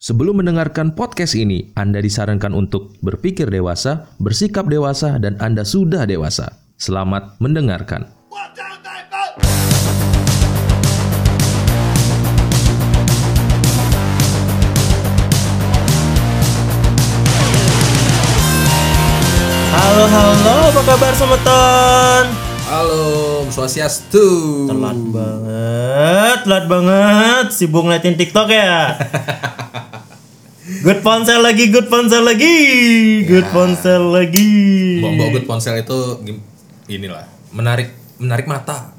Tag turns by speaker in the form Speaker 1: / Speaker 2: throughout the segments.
Speaker 1: Sebelum mendengarkan podcast ini, Anda disarankan untuk berpikir dewasa, bersikap dewasa, dan Anda sudah dewasa. Selamat mendengarkan.
Speaker 2: Watch out, they vote!
Speaker 3: Halo halo, apa kabar Semeton?
Speaker 4: Halo, swastiastu.
Speaker 3: Telat banget, telat banget. Sibuk ngeliatin TikTok ya. Good ponsel lagi, good ponsel lagi,
Speaker 4: Iya.
Speaker 3: good ponsel lagi.
Speaker 4: Mbak good ponsel itu gim- inilah menarik menarik mata.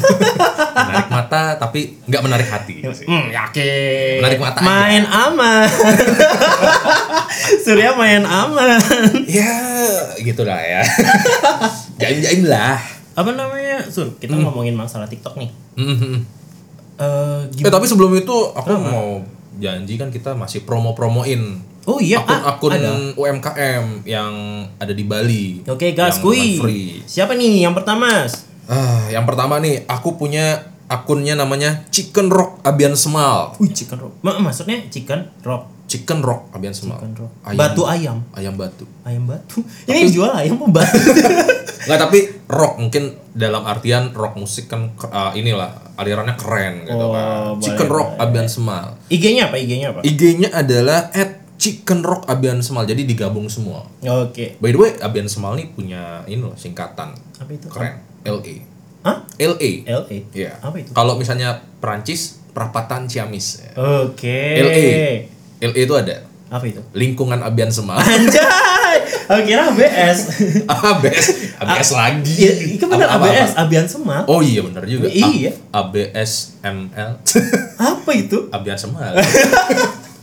Speaker 4: menarik mata tapi nggak menarik hati. sih.
Speaker 3: Hmm, yakin.
Speaker 4: Menarik mata aja.
Speaker 3: Main aman. Surya main aman.
Speaker 4: ya, gitu lah ya. Jaim-jaim lah.
Speaker 3: Apa namanya? Sur, kita ngomongin masalah TikTok nih.
Speaker 4: Mhm.
Speaker 3: Eh,
Speaker 4: Hmm. Eh
Speaker 3: gimana?
Speaker 4: tapi sebelum itu aku mau janji kan kita masih promo-promoin
Speaker 3: Oh iya, ah,
Speaker 4: akun-akun
Speaker 3: ada.
Speaker 4: UMKM yang ada di Bali.
Speaker 3: Oke
Speaker 4: Yang
Speaker 3: guys, kui.
Speaker 4: free.
Speaker 3: Siapa nih yang pertama?
Speaker 4: Ah, yang pertama nih, aku punya akunnya namanya Chicken Rock Abian Semal.
Speaker 3: Wih, chicken rock. Ma- maksudnya chicken rock.
Speaker 4: Chicken Rock Abian Semal.
Speaker 3: Chicken rock.
Speaker 4: Ayam-
Speaker 3: Batu ayam.
Speaker 4: Ayam batu.
Speaker 3: ayam batu ini yang jual ayam apa batu
Speaker 4: Nggak, tapi rock mungkin dalam artian rock musik kan eh, inilah alirannya keren gitu kan.
Speaker 3: Oh, boleh,
Speaker 4: Chicken Rock Abian Semal.
Speaker 3: IG-nya apa IG-nya apa
Speaker 4: IG-nya adalah @chickenrock Abian Semal. Jadi digabung semua.
Speaker 3: oke
Speaker 4: By the way, Abian Semal nih punya ini loh singkatan.
Speaker 3: apa itu
Speaker 4: Keren. E. LA.
Speaker 3: Hah? E.
Speaker 4: LA.
Speaker 3: LA
Speaker 4: Iya.
Speaker 3: apa itu
Speaker 4: Kalau misalnya Perancis, perapatan Ciamis.
Speaker 3: oke
Speaker 4: LA. LA itu ada
Speaker 3: apa itu
Speaker 4: lingkungan Abian Semal.
Speaker 3: anjay aku kira ABS
Speaker 4: ABS, ABS lagi.
Speaker 3: iya itu benar
Speaker 4: Apa- apa-
Speaker 3: ABS
Speaker 4: apa?
Speaker 3: Abian Semal
Speaker 4: Oh iya benar juga. A-
Speaker 3: Iya.
Speaker 4: ABS ML.
Speaker 3: apa itu
Speaker 4: ABS ML.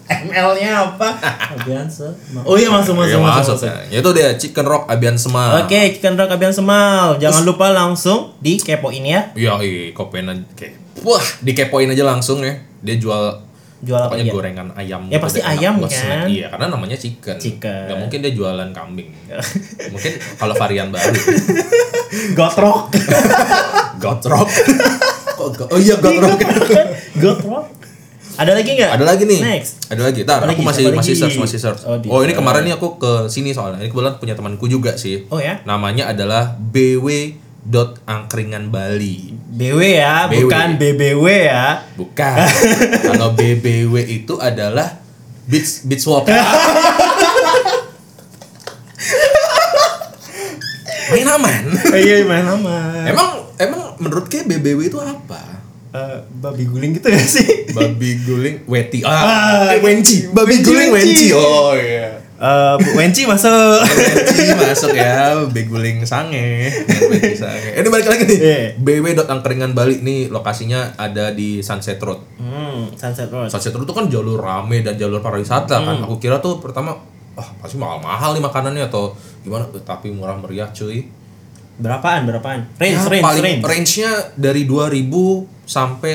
Speaker 3: ML-nya apa Abian Semal oh iya masuk
Speaker 4: Iya
Speaker 3: masuk masuk,
Speaker 4: masuk. Ah.
Speaker 3: masuk.
Speaker 4: Ya itu dia Chicken Rock Abian Semal.
Speaker 3: Oke, Chicken Rock Abian Semal. Jangan lupa langsung dikepoin ya.
Speaker 4: Iya, iya, kopain aja. Oke. Wah, dikepoin aja langsung ya. Dia jual
Speaker 3: Jual apa
Speaker 4: pokoknya
Speaker 3: aja?
Speaker 4: gorengan ayam.
Speaker 3: Ya,
Speaker 4: gitu
Speaker 3: pasti
Speaker 4: deh, enak
Speaker 3: ayam,
Speaker 4: buat snack.
Speaker 3: kan?
Speaker 4: Iya, karena namanya chicken.
Speaker 3: Chicken.
Speaker 4: Gak mungkin dia jualan kambing. mungkin kalau varian baru.
Speaker 3: Gotrok.
Speaker 4: Gotrok. Kok go- oh iya
Speaker 3: Gotrok.
Speaker 4: Gotrok.
Speaker 3: Gotrok. Ada lagi nggak?
Speaker 4: Ada lagi nih.
Speaker 3: Next.
Speaker 4: Ada lagi. Tar,
Speaker 3: Ada
Speaker 4: aku
Speaker 3: lagi,
Speaker 4: masih
Speaker 3: siapa
Speaker 4: masih
Speaker 3: lagi?
Speaker 4: search, masih search.
Speaker 3: Oh,
Speaker 4: Oh,
Speaker 3: di-
Speaker 4: ini kemarin nih aku ke sini soalnya. Ini kebetulan punya temanku juga sih.
Speaker 3: Oh ya?
Speaker 4: Namanya adalah BW dot angkringan Bali.
Speaker 3: BW ya,
Speaker 4: BW.
Speaker 3: bukan BBW ya.
Speaker 4: Bukan. Kalau BBW itu adalah beach beach walk. Main aman.
Speaker 3: Iya, main nama.
Speaker 4: Emang emang menurut kayak BBW itu apa?
Speaker 3: Eh, babi guling gitu ya sih?
Speaker 4: Babi guling weti.
Speaker 3: Ah,
Speaker 4: Ah, eh, wenci. Babi
Speaker 3: wenci,
Speaker 4: guling
Speaker 3: wenci.
Speaker 4: wenci. Oh iya.
Speaker 3: Eh, Bu Wenci masuk.
Speaker 4: Wenci masuk ya, beguling sange. Wenci sange. Ini balik lagi nih.
Speaker 3: Iya.
Speaker 4: BW dot angkringan Bali nih lokasinya ada di Sunset Road.
Speaker 3: Hmm, Sunset Road.
Speaker 4: Sunset Road itu kan jalur rame dan jalur pariwisata kan.
Speaker 3: Hmm.
Speaker 4: Aku kira tuh pertama wah pasti mahal-mahal nih makanannya atau gimana tapi murah meriah cuy.
Speaker 3: Berapaan? Berapaan? Range,
Speaker 4: Ya,
Speaker 3: range,
Speaker 4: paling
Speaker 3: range.
Speaker 4: range-nya dari 2000 sampai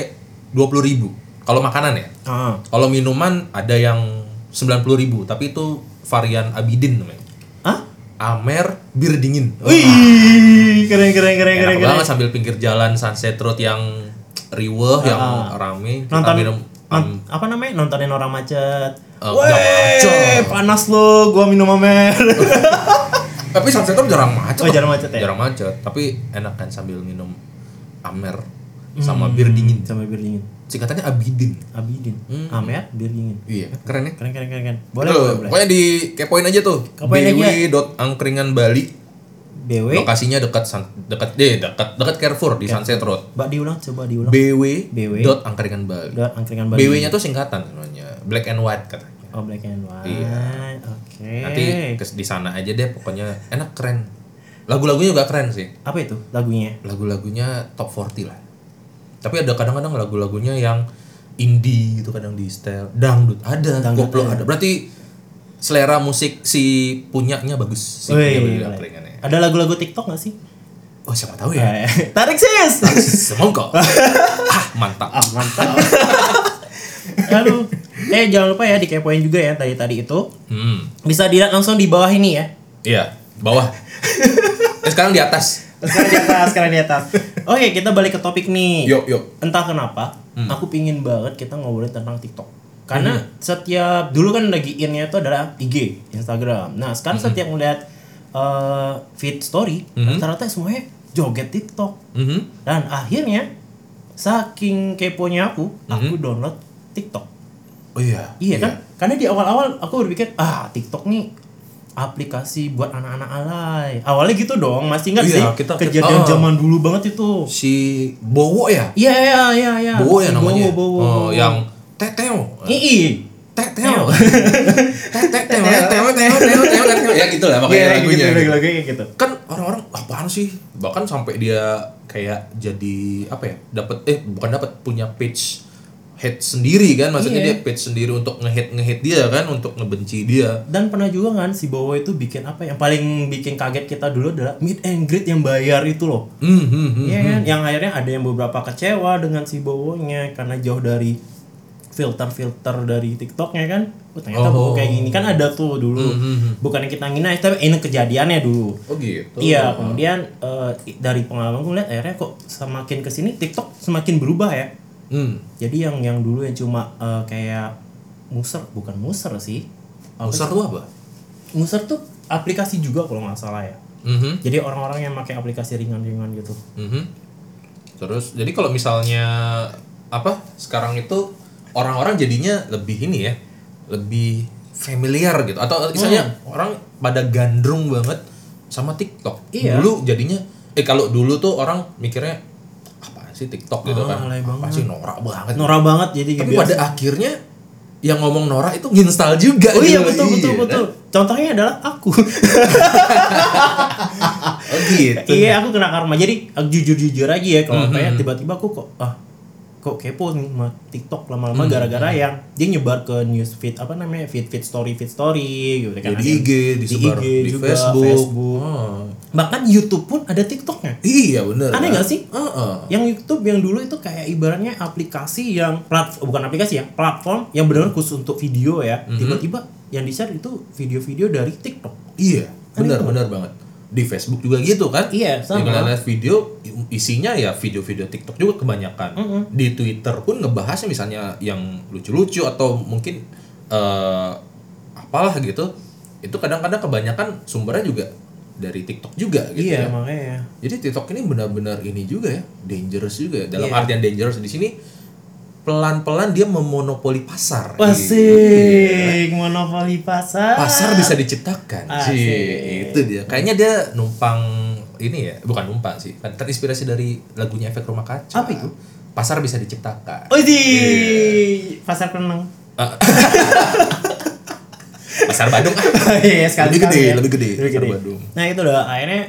Speaker 4: 20.000 kalau makanan ya.
Speaker 3: Ah.
Speaker 4: Kalau minuman ada yang 90.000 tapi itu varian Abidin namanya.
Speaker 3: Hah?
Speaker 4: Amer bir dingin. Wah,
Speaker 3: Wih, keren keren keren keren.
Speaker 4: enak
Speaker 3: keren.
Speaker 4: banget sambil pinggir jalan sunset road yang riweh yang rame kita
Speaker 3: Ah. Nonton
Speaker 4: minum am-
Speaker 3: non- Ah, apa namanya? Nontonin orang macet.
Speaker 4: Eh, nggak macet.
Speaker 3: panas lo, gua minum amer.
Speaker 4: tapi sunset road jarang macet.
Speaker 3: Oh,
Speaker 4: loh.
Speaker 3: jarang macet ya?
Speaker 4: Jarang macet, tapi enak kan sambil minum Amer sama
Speaker 3: Hmm.
Speaker 4: bir dingin.
Speaker 3: Sama bir dingin.
Speaker 4: Singkatannya Abidin.
Speaker 3: Abidin. Amer, bir dingin.
Speaker 4: Iya, keren ya.
Speaker 3: Keren keren keren keren. Boleh,
Speaker 4: Tuh,
Speaker 3: boleh, boleh.
Speaker 4: Pokoknya di kepoin aja tuh.
Speaker 3: Kepoin ya? aja.
Speaker 4: bw.angkringan Bali.
Speaker 3: BW.
Speaker 4: Lokasinya dekat Sun- dekat eh, dekat dekat Carrefour
Speaker 3: Iya.
Speaker 4: di Sunset Road.
Speaker 3: Mbak diulang coba diulang.
Speaker 4: BW.
Speaker 3: BW.
Speaker 4: Dot angkringan Bali.
Speaker 3: Dot angkringan Bali.
Speaker 4: BW-nya tuh singkatan sebenarnya. Black and white katanya.
Speaker 3: Oh black and white. Oke.
Speaker 4: Nanti
Speaker 3: Eh.
Speaker 4: kes- di sana aja deh pokoknya enak keren. Lagu-lagunya juga keren sih.
Speaker 3: apa itu lagunya?
Speaker 4: Lagu-lagunya top 40 lah. Tapi ada kadang-kadang lagu-lagunya yang indie gitu kadang di style dangdut ada,
Speaker 3: Dangdut
Speaker 4: koplo ada. Berarti selera musik si punyanya bagus si punya
Speaker 3: Wih,
Speaker 4: Bali
Speaker 3: boleh.
Speaker 4: Angkringan ya.
Speaker 3: Ada lagu-lagu TikTok gak sih?
Speaker 4: Oh siapa tahu ya.
Speaker 3: Eh, Tarik sis.
Speaker 4: Semongko. ah, mantap.
Speaker 3: ah mantap. Aduh. Eh jangan lupa ya dikepoin juga ya tadi tadi itu.
Speaker 4: Hmm.
Speaker 3: Bisa dilihat langsung di bawah ini ya.
Speaker 4: Iya, bawah. Eh, sekarang di atas.
Speaker 3: Sekarang di atas, sekarang di atas. Oke, kita balik ke topik nih.
Speaker 4: Yuk, yuk. Hmm.
Speaker 3: Entah kenapa, aku pingin banget kita ngobrolin tentang TikTok. Karena setiap dulu kan lagi innya itu adalah IG, Instagram. Nah, sekarang
Speaker 4: Hmm.
Speaker 3: setiap melihat eh, feed story, rata-rata semuanya joget TikTok.
Speaker 4: Mhm.
Speaker 3: Dan akhirnya saking keponya aku, aku download TikTok.
Speaker 4: Oh Hmm. iya.
Speaker 3: Iya kan? Karena di awal-awal aku berpikir, ah TikTok nih aplikasi buat anak-anak alay. Awalnya gitu dong, masih ingat
Speaker 4: Iya,
Speaker 3: sih
Speaker 4: kita- ah.
Speaker 3: kejadian zaman dulu banget itu.
Speaker 4: Si Bowo ya?
Speaker 3: Iya iya iya iya.
Speaker 4: Bowo ya
Speaker 3: Si
Speaker 4: namanya.
Speaker 3: Bowo, Bowo.
Speaker 4: Oh, yang Teteo.
Speaker 3: Ii.
Speaker 4: Teteo. Teteo. Teteo. Teteo. Teteo. Teteo. Ya gitu lah
Speaker 3: Iya,
Speaker 4: makanya
Speaker 3: gitu,
Speaker 4: lagunya. gitu.
Speaker 3: lagunya gitu.
Speaker 4: Kan orang-orang apaan sih? Bahkan sampai dia kayak jadi apa ya? Dapat eh bukan dapat punya page hate sendiri kan maksudnya
Speaker 3: Iya.
Speaker 4: dia page sendiri untuk nge-hate nge-hate dia kan untuk ngebenci dia.
Speaker 3: Dan pernah juga kan si Bowo itu bikin apa ya? yang paling bikin kaget kita dulu adalah meet and greet yang bayar itu loh.
Speaker 4: Hmm, hmm, hmm.
Speaker 3: Iya kan? Yang akhirnya ada yang beberapa kecewa dengan si Bowonya karena jauh dari filter-filter dari TikToknya kan. Oh, ternyata Bowo kayak gini kan ada tuh
Speaker 4: Mhm,
Speaker 3: dulu. Bukan kita ngina tapi ini kejadiannya dulu.
Speaker 4: Oh gitu.
Speaker 3: Iya, kemudian eh, dari pengalaman gue lihat akhirnya kok semakin kesini TikTok semakin berubah ya.
Speaker 4: Hmm.
Speaker 3: Jadi yang yang dulu yang cuma eh, kayak muser bukan muser sih. Apa
Speaker 4: Besar tuh apa?
Speaker 3: sih? Muser tuh aplikasi juga kalau nggak salah ya.
Speaker 4: Mhm.
Speaker 3: Jadi orang-orang yang pakai aplikasi ringan-ringan gitu.
Speaker 4: Mhm. Terus jadi kalau misalnya apa sekarang itu orang-orang jadinya lebih ini ya, lebih familiar gitu atau misalnya
Speaker 3: Hmm.
Speaker 4: orang pada gandrung banget sama TikTok.
Speaker 3: Iya.
Speaker 4: Dulu jadinya eh kalau dulu tuh orang mikirnya apa sih TikTok gitu kan.
Speaker 3: alay
Speaker 4: Apa sih norak banget.
Speaker 3: Norak banget jadi
Speaker 4: Tapi
Speaker 3: biasa.
Speaker 4: pada akhirnya yang ngomong norak itu nginstal juga
Speaker 3: Oh iya
Speaker 4: gitu.
Speaker 3: betul betul
Speaker 4: Iya,
Speaker 3: betul. Contohnya adalah aku.
Speaker 4: kan? Oh gitu.
Speaker 3: iya aku kena karma. Jadi jujur jujur aja ya kalau
Speaker 4: Mm-hmm.
Speaker 3: kayak tiba-tiba aku kok ah kok kepo nih sama TikTok lama-lama
Speaker 4: Mm-hmm.
Speaker 3: gara-gara yang dia nyebar ke news feed apa namanya feed feed story feed story gitu kan.
Speaker 4: Di
Speaker 3: Ada-
Speaker 4: IG, disebar
Speaker 3: IG
Speaker 4: di,
Speaker 3: juga,
Speaker 4: Facebook.
Speaker 3: Facebook.
Speaker 4: Oh.
Speaker 3: Bahkan YouTube pun ada TikToknya.
Speaker 4: Iya bener
Speaker 3: Aneh
Speaker 4: kan?
Speaker 3: nggak sih?
Speaker 4: Heeh.
Speaker 3: Yang YouTube yang dulu itu kayak ibaratnya aplikasi yang platform bukan aplikasi ya platform yang benar-benar khusus untuk video ya. Tiba-tiba yang di share itu video-video dari TikTok.
Speaker 4: Iya, benar-benar banget. Di Facebook juga gitu kan?
Speaker 3: Iya, sama.
Speaker 4: Dengan lihat video isinya ya video-video TikTok juga kebanyakan. Di Twitter pun ngebahasnya misalnya yang lucu-lucu atau mungkin eh apalah gitu. Itu kadang-kadang kebanyakan sumbernya juga dari TikTok juga gitu ya.
Speaker 3: Iya makanya.
Speaker 4: Jadi TikTok ini benar-benar ini juga ya, dangerous juga. Dalam
Speaker 3: Iya.
Speaker 4: artian dangerous di sini pelan-pelan dia memonopoli pasar. Iya
Speaker 3: Wasik, monopoli pasar.
Speaker 4: pasar bisa diciptakan
Speaker 3: Asik.
Speaker 4: sih itu dia kayaknya dia numpang ini ya bukan numpang sih kan terinspirasi dari lagunya efek rumah kaca
Speaker 3: Apa itu?
Speaker 4: pasar bisa diciptakan Iya. Ah.
Speaker 3: Oh di pasar kenang.
Speaker 4: pasar Badung ah.
Speaker 3: Iya
Speaker 4: lebih gede
Speaker 3: ya.
Speaker 4: lebih gede
Speaker 3: Lebih
Speaker 4: pasar
Speaker 3: gede.
Speaker 4: Badung
Speaker 3: Nah itu udah akhirnya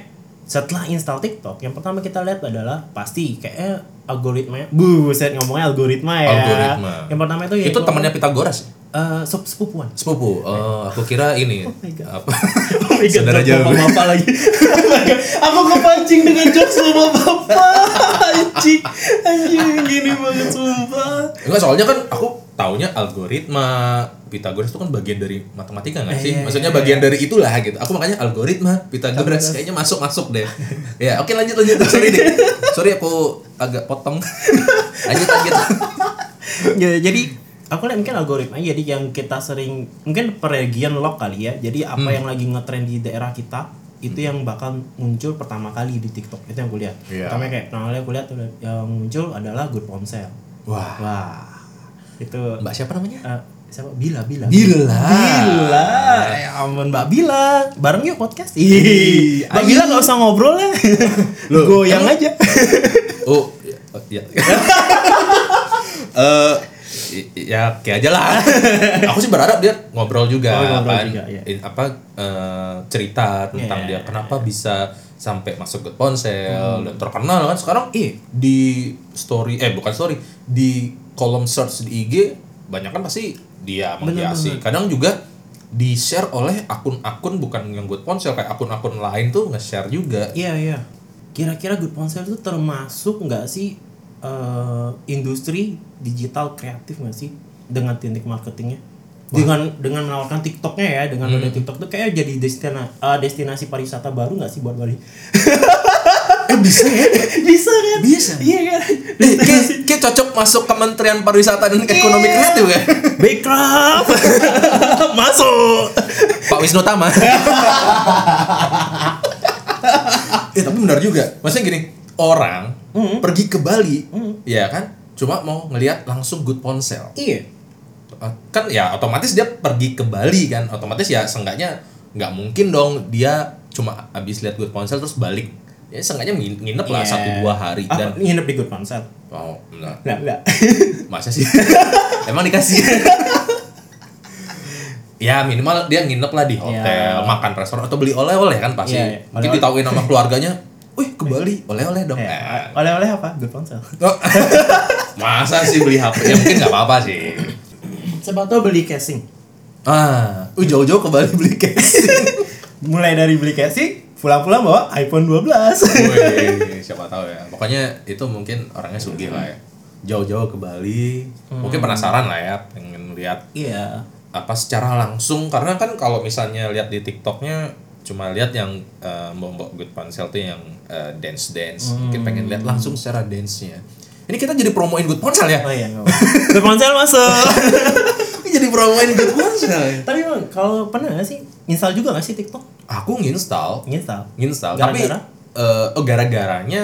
Speaker 3: setelah install TikTok yang pertama kita lihat adalah pasti kayaknya algoritma buset ngomongnya algoritma ya
Speaker 4: Algoritma.
Speaker 3: yang pertama itu ya
Speaker 4: itu temannya Pitagoras ya?
Speaker 3: eh, sep- sepupuan
Speaker 4: sepupu oh, aku kira ini apa
Speaker 3: Oh my God,
Speaker 4: Saudara jauh.
Speaker 3: bapak, bapak lagi. Aku kepancing dengan jokes sama bapak. Anjing, anjing gini banget sumpah.
Speaker 4: enggak soalnya kan aku taunya algoritma Pitagoras itu kan bagian dari matematika nggak sih?
Speaker 3: Iya, iya,
Speaker 4: Maksudnya
Speaker 3: iya.
Speaker 4: bagian dari itulah gitu. Aku makanya algoritma Pitagoras kayaknya masuk-masuk deh. ya, oke lanjut lanjut. Sorry deh. Sorry aku agak potong. lanjut lanjut.
Speaker 3: Ya, jadi aku lihat mungkin algoritma ya, jadi yang kita sering mungkin per region lock kali ya. Jadi apa
Speaker 4: Hmm.
Speaker 3: yang lagi ngetrend di daerah kita itu yang bakal muncul pertama kali di TikTok itu yang kulihat.
Speaker 4: Iya.
Speaker 3: Pertama kayak pertama kali aku lihat udah- yang muncul adalah good ponsel.
Speaker 4: Wah,
Speaker 3: Wah, itu
Speaker 4: Mbak siapa namanya?
Speaker 3: eh, siapa Bila Bila.
Speaker 4: Bila.
Speaker 3: Bila, ya ampun Mbak Bila, bareng yuk podcast. Ih, Mbak
Speaker 4: ayo.
Speaker 3: Bila nggak usah ngobrol ya,
Speaker 4: Loh,
Speaker 3: goyang aja.
Speaker 4: Oh, ya. oh, ya. Eh, i- ya kayak aja lah. Aku sih berharap dia ngobrol juga,
Speaker 3: Oh, ngobrol
Speaker 4: apaan,
Speaker 3: juga, iya.
Speaker 4: in- apa eh, cerita tentang dia kenapa bisa sampai masuk ke ponsel
Speaker 3: Hmm.
Speaker 4: dan terkenal kan sekarang eh di story eh bukan story di kolom search di IG banyak kan pasti dia menghiasi. Kadang juga di share oleh akun-akun bukan yang buat ponsel kayak akun-akun lain tuh nge-share juga.
Speaker 3: Iya iya. Kira-kira good ponsel itu termasuk nggak sih eh, industri digital kreatif nggak sih dengan titik marketingnya? Dengan dengan menawarkan TikToknya ya, dengan ada TikTok tuh kayak jadi destina, eh, destinasi pariwisata baru nggak sih buat Bali?
Speaker 4: eh bisa ya
Speaker 3: bisa kan
Speaker 4: Bisa.
Speaker 3: iya kan
Speaker 4: Eh, kayak, kayak cocok masuk Kementerian Pariwisata dan Ekonomi
Speaker 3: Iya.
Speaker 4: Kreatif kan
Speaker 3: backcraft masuk
Speaker 4: Pak Wisnu Tama ya tapi benar juga maksudnya gini orang
Speaker 3: Hmm.
Speaker 4: pergi ke Bali ya kan cuma mau ngelihat langsung good ponsel
Speaker 3: iya
Speaker 4: kan ya otomatis dia pergi ke Bali kan otomatis ya seenggaknya nggak mungkin dong dia cuma habis lihat good ponsel terus balik ya seenggaknya ngin- nginep lah
Speaker 3: Iya.
Speaker 4: satu dua hari
Speaker 3: Ah,
Speaker 4: dan
Speaker 3: nginep di Good Ponsel
Speaker 4: oh nah,
Speaker 3: enggak enggak
Speaker 4: masa sih emang dikasih ya minimal dia nginep lah di hotel
Speaker 3: Iya.
Speaker 4: makan restoran atau beli oleh-oleh kan pasti
Speaker 3: Iya, iya.
Speaker 4: mungkin
Speaker 3: Oleh-oleh.
Speaker 4: ditawain sama keluarganya Wih ke Bali oleh-oleh dong Eh,
Speaker 3: Eh, oleh-oleh apa Good Ponsel
Speaker 4: oh. masa sih beli HP ya mungkin nggak apa-apa sih
Speaker 3: siapa tau beli casing
Speaker 4: ah uh, jauh-jauh ke Bali beli casing
Speaker 3: mulai dari beli casing pulang-pulang bawa iPhone 12
Speaker 4: Wih, siapa tahu ya. Pokoknya itu mungkin orangnya sugih lah ya. Hmm. Jauh-jauh ke Bali, mungkin penasaran lah ya, pengen lihat
Speaker 3: iya
Speaker 4: apa secara langsung karena kan kalau misalnya lihat di TikToknya cuma lihat yang eh, mbok-mbok good ponsel tuh yang eh, dance dance mungkin pengen lihat langsung secara dance nya ini kita jadi promoin good ponsel ya
Speaker 3: oh iya nggak apa-apa. Good Ponsel masuk
Speaker 4: jadi promoin good ponsel
Speaker 3: tapi emang kalau pernah nggak sih install juga nggak sih TikTok
Speaker 4: aku nginstal
Speaker 3: install
Speaker 4: nginstal
Speaker 3: Gara-gara?
Speaker 4: tapi eh, oh gara-garanya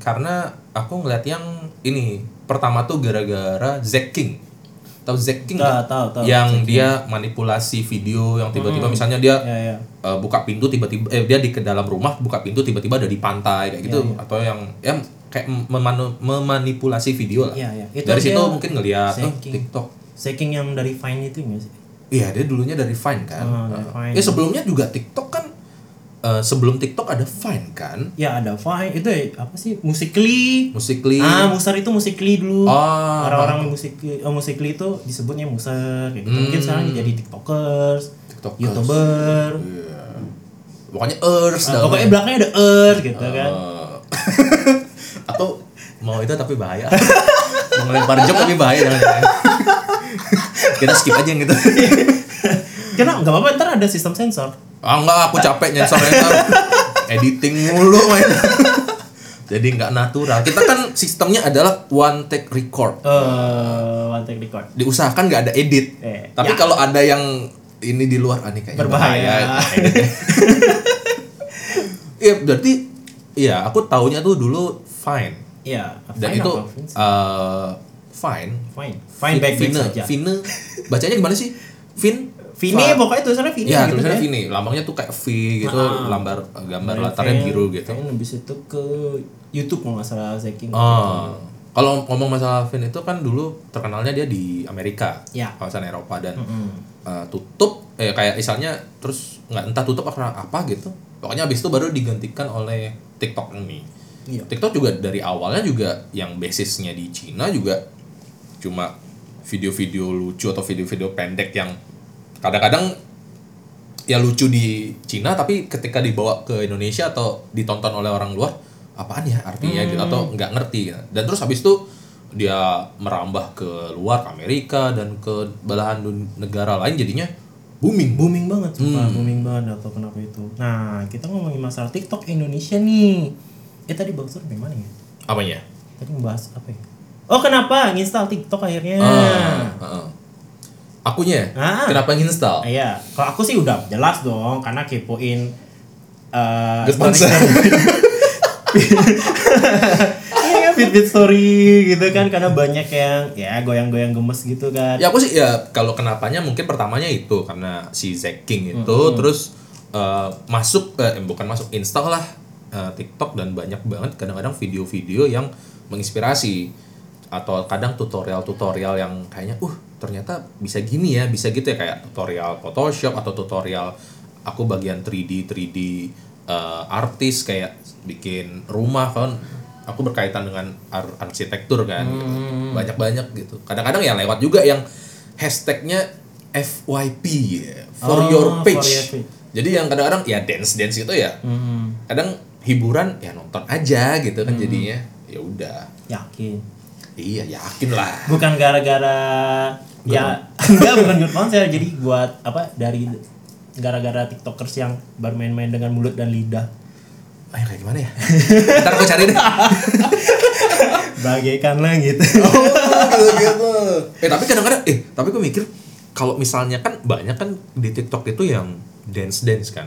Speaker 4: karena aku ngeliat yang ini pertama tuh gara-gara Zack King tahu Zack King
Speaker 3: Tahu,
Speaker 4: nggak?
Speaker 3: tahu, tahu.
Speaker 4: yang dia manipulasi video yang tiba-tiba misalnya dia
Speaker 3: ya ya
Speaker 4: eh, buka pintu tiba-tiba eh dia di ke dalam rumah buka pintu tiba-tiba ada di pantai kayak
Speaker 3: Iya,
Speaker 4: gitu atau yang ya kayak memanu- memanipulasi video lah
Speaker 3: Iya, iya. Itu
Speaker 4: dari
Speaker 3: dia
Speaker 4: situ mungkin ngeliat
Speaker 3: Zack
Speaker 4: oh,
Speaker 3: King.
Speaker 4: TikTok
Speaker 3: Shaking yang dari Vine itu nggak sih
Speaker 4: Iya dia dulunya dari Vine kan.
Speaker 3: Ah,
Speaker 4: Heeh.
Speaker 3: dari Vine.
Speaker 4: Ya sebelumnya juga TikTok kan. eh, sebelum TikTok ada Vine kan.
Speaker 3: ya ada Vine itu ya, apa sih Musically
Speaker 4: Musically.
Speaker 3: Ah, Musar itu musikli dulu.
Speaker 4: Ah.
Speaker 3: Orang-orang musikli, eh, musikli itu disebutnya Musar kayak gitu. Mungkin
Speaker 4: Hmm.
Speaker 3: sekarang jadi TikTokers,
Speaker 4: TikTokers.
Speaker 3: YouTuber.
Speaker 4: Iya. Pokoknya Earth.
Speaker 3: Nah, pokoknya belakangnya ada Earth gitu
Speaker 4: Ah.
Speaker 3: kan.
Speaker 4: Eh, atau mau itu tapi bahaya. Mau ngelempar jok tapi bahaya jangan jangan. Kita skip aja yang gitu.
Speaker 3: Karena nggak apa-apa ntar ada sistem sensor.
Speaker 4: ah enggak, aku capek nyensor nyensor. Editing mulu main. Jadi nggak natural. Kita kan sistemnya adalah one take record.
Speaker 3: Eh, one take record.
Speaker 4: diusahakan nggak ada edit.
Speaker 3: Eh,
Speaker 4: Tapi
Speaker 3: ya.
Speaker 4: kalau ada yang ini di luar ah, ini kayaknya
Speaker 3: Berbahaya.
Speaker 4: bahaya. Iya berarti iya aku taunya tuh dulu fine
Speaker 3: Iya,
Speaker 4: dan
Speaker 3: Vine
Speaker 4: itu
Speaker 3: apa Vine?
Speaker 4: eh, fine.
Speaker 3: Fine. Fine back back
Speaker 4: Vine,
Speaker 3: saja.
Speaker 4: Vine, bacanya gimana sih? Fin
Speaker 3: Vine
Speaker 4: Fa-
Speaker 3: pokoknya tulisannya Vine
Speaker 4: Iya,
Speaker 3: gitu Ah.
Speaker 4: tulisannya
Speaker 3: kan.
Speaker 4: Vine. Lambangnya tuh kayak V gitu, lambar gambar
Speaker 3: Vine,
Speaker 4: latarnya
Speaker 3: Vine,
Speaker 4: biru gitu.
Speaker 3: Vine habis itu ke YouTube kalau nggak salah Zeking.
Speaker 4: Ah, kalau ngomong masalah Vin itu kan dulu terkenalnya dia di Amerika,
Speaker 3: Ya.
Speaker 4: kawasan Eropa dan eh, tutup, eh kayak misalnya terus nggak entah tutup apa apa gitu. Pokoknya abis itu baru digantikan oleh TikTok ini.
Speaker 3: Iya.
Speaker 4: TikTok juga dari awalnya juga yang basisnya di Cina juga cuma video-video lucu atau video-video pendek yang kadang-kadang ya lucu di Cina tapi ketika dibawa ke Indonesia atau ditonton oleh orang luar apaan ya artinya gitu atau nggak ngerti gitu. dan terus habis itu dia merambah ke luar ke Amerika dan ke belahan dun- negara lain jadinya booming
Speaker 3: booming banget sumpah
Speaker 4: Hmm.
Speaker 3: booming banget nggak tahu kenapa itu nah kita ngomongin masalah TikTok Indonesia nih eh tadi bagus tuh mana ya
Speaker 4: apanya
Speaker 3: tadi membahas apa ya oh kenapa nginstal TikTok akhirnya
Speaker 4: Ah, ah, ah. akunya
Speaker 3: Hmm. Ah.
Speaker 4: kenapa
Speaker 3: Ah,
Speaker 4: nginstal
Speaker 3: iya kalau aku sih udah jelas dong karena kepoin eh
Speaker 4: Good
Speaker 3: story-
Speaker 4: ponsel.
Speaker 3: Iya, Fitbit story gitu kan karena banyak yang ya goyang-goyang gemes gitu kan
Speaker 4: ya aku sih ya kalau kenapanya mungkin pertamanya itu karena si Zack King itu terus eh, masuk eh, bukan masuk install lah eh, TikTok dan banyak banget kadang-kadang video-video yang menginspirasi atau kadang tutorial-tutorial yang kayaknya uh ternyata bisa gini ya bisa gitu ya kayak tutorial Photoshop atau tutorial aku bagian 3D 3D eh, artis kayak bikin rumah kan aku berkaitan dengan ar- arsitektur kan gitu. banyak-banyak gitu kadang-kadang ya lewat juga yang hashtagnya FYP ya, for
Speaker 3: Oh,
Speaker 4: your
Speaker 3: for
Speaker 4: page
Speaker 3: your page. Hmm.
Speaker 4: jadi yang kadang-kadang ya dance dance gitu ya kadang hiburan ya nonton aja gitu kan jadinya ya udah
Speaker 3: yakin
Speaker 4: iya yakin lah
Speaker 3: bukan gara-gara ya enggak bukan good ponsel jadi buat apa dari gara-gara tiktokers yang bermain-main dengan mulut dan lidah
Speaker 4: ayo kayak gimana ya ntar gue cari deh
Speaker 3: bagaikan langit
Speaker 4: gitu eh tapi kadang-kadang eh tapi gue mikir kalau misalnya kan banyak kan di TikTok itu yang dance dance kan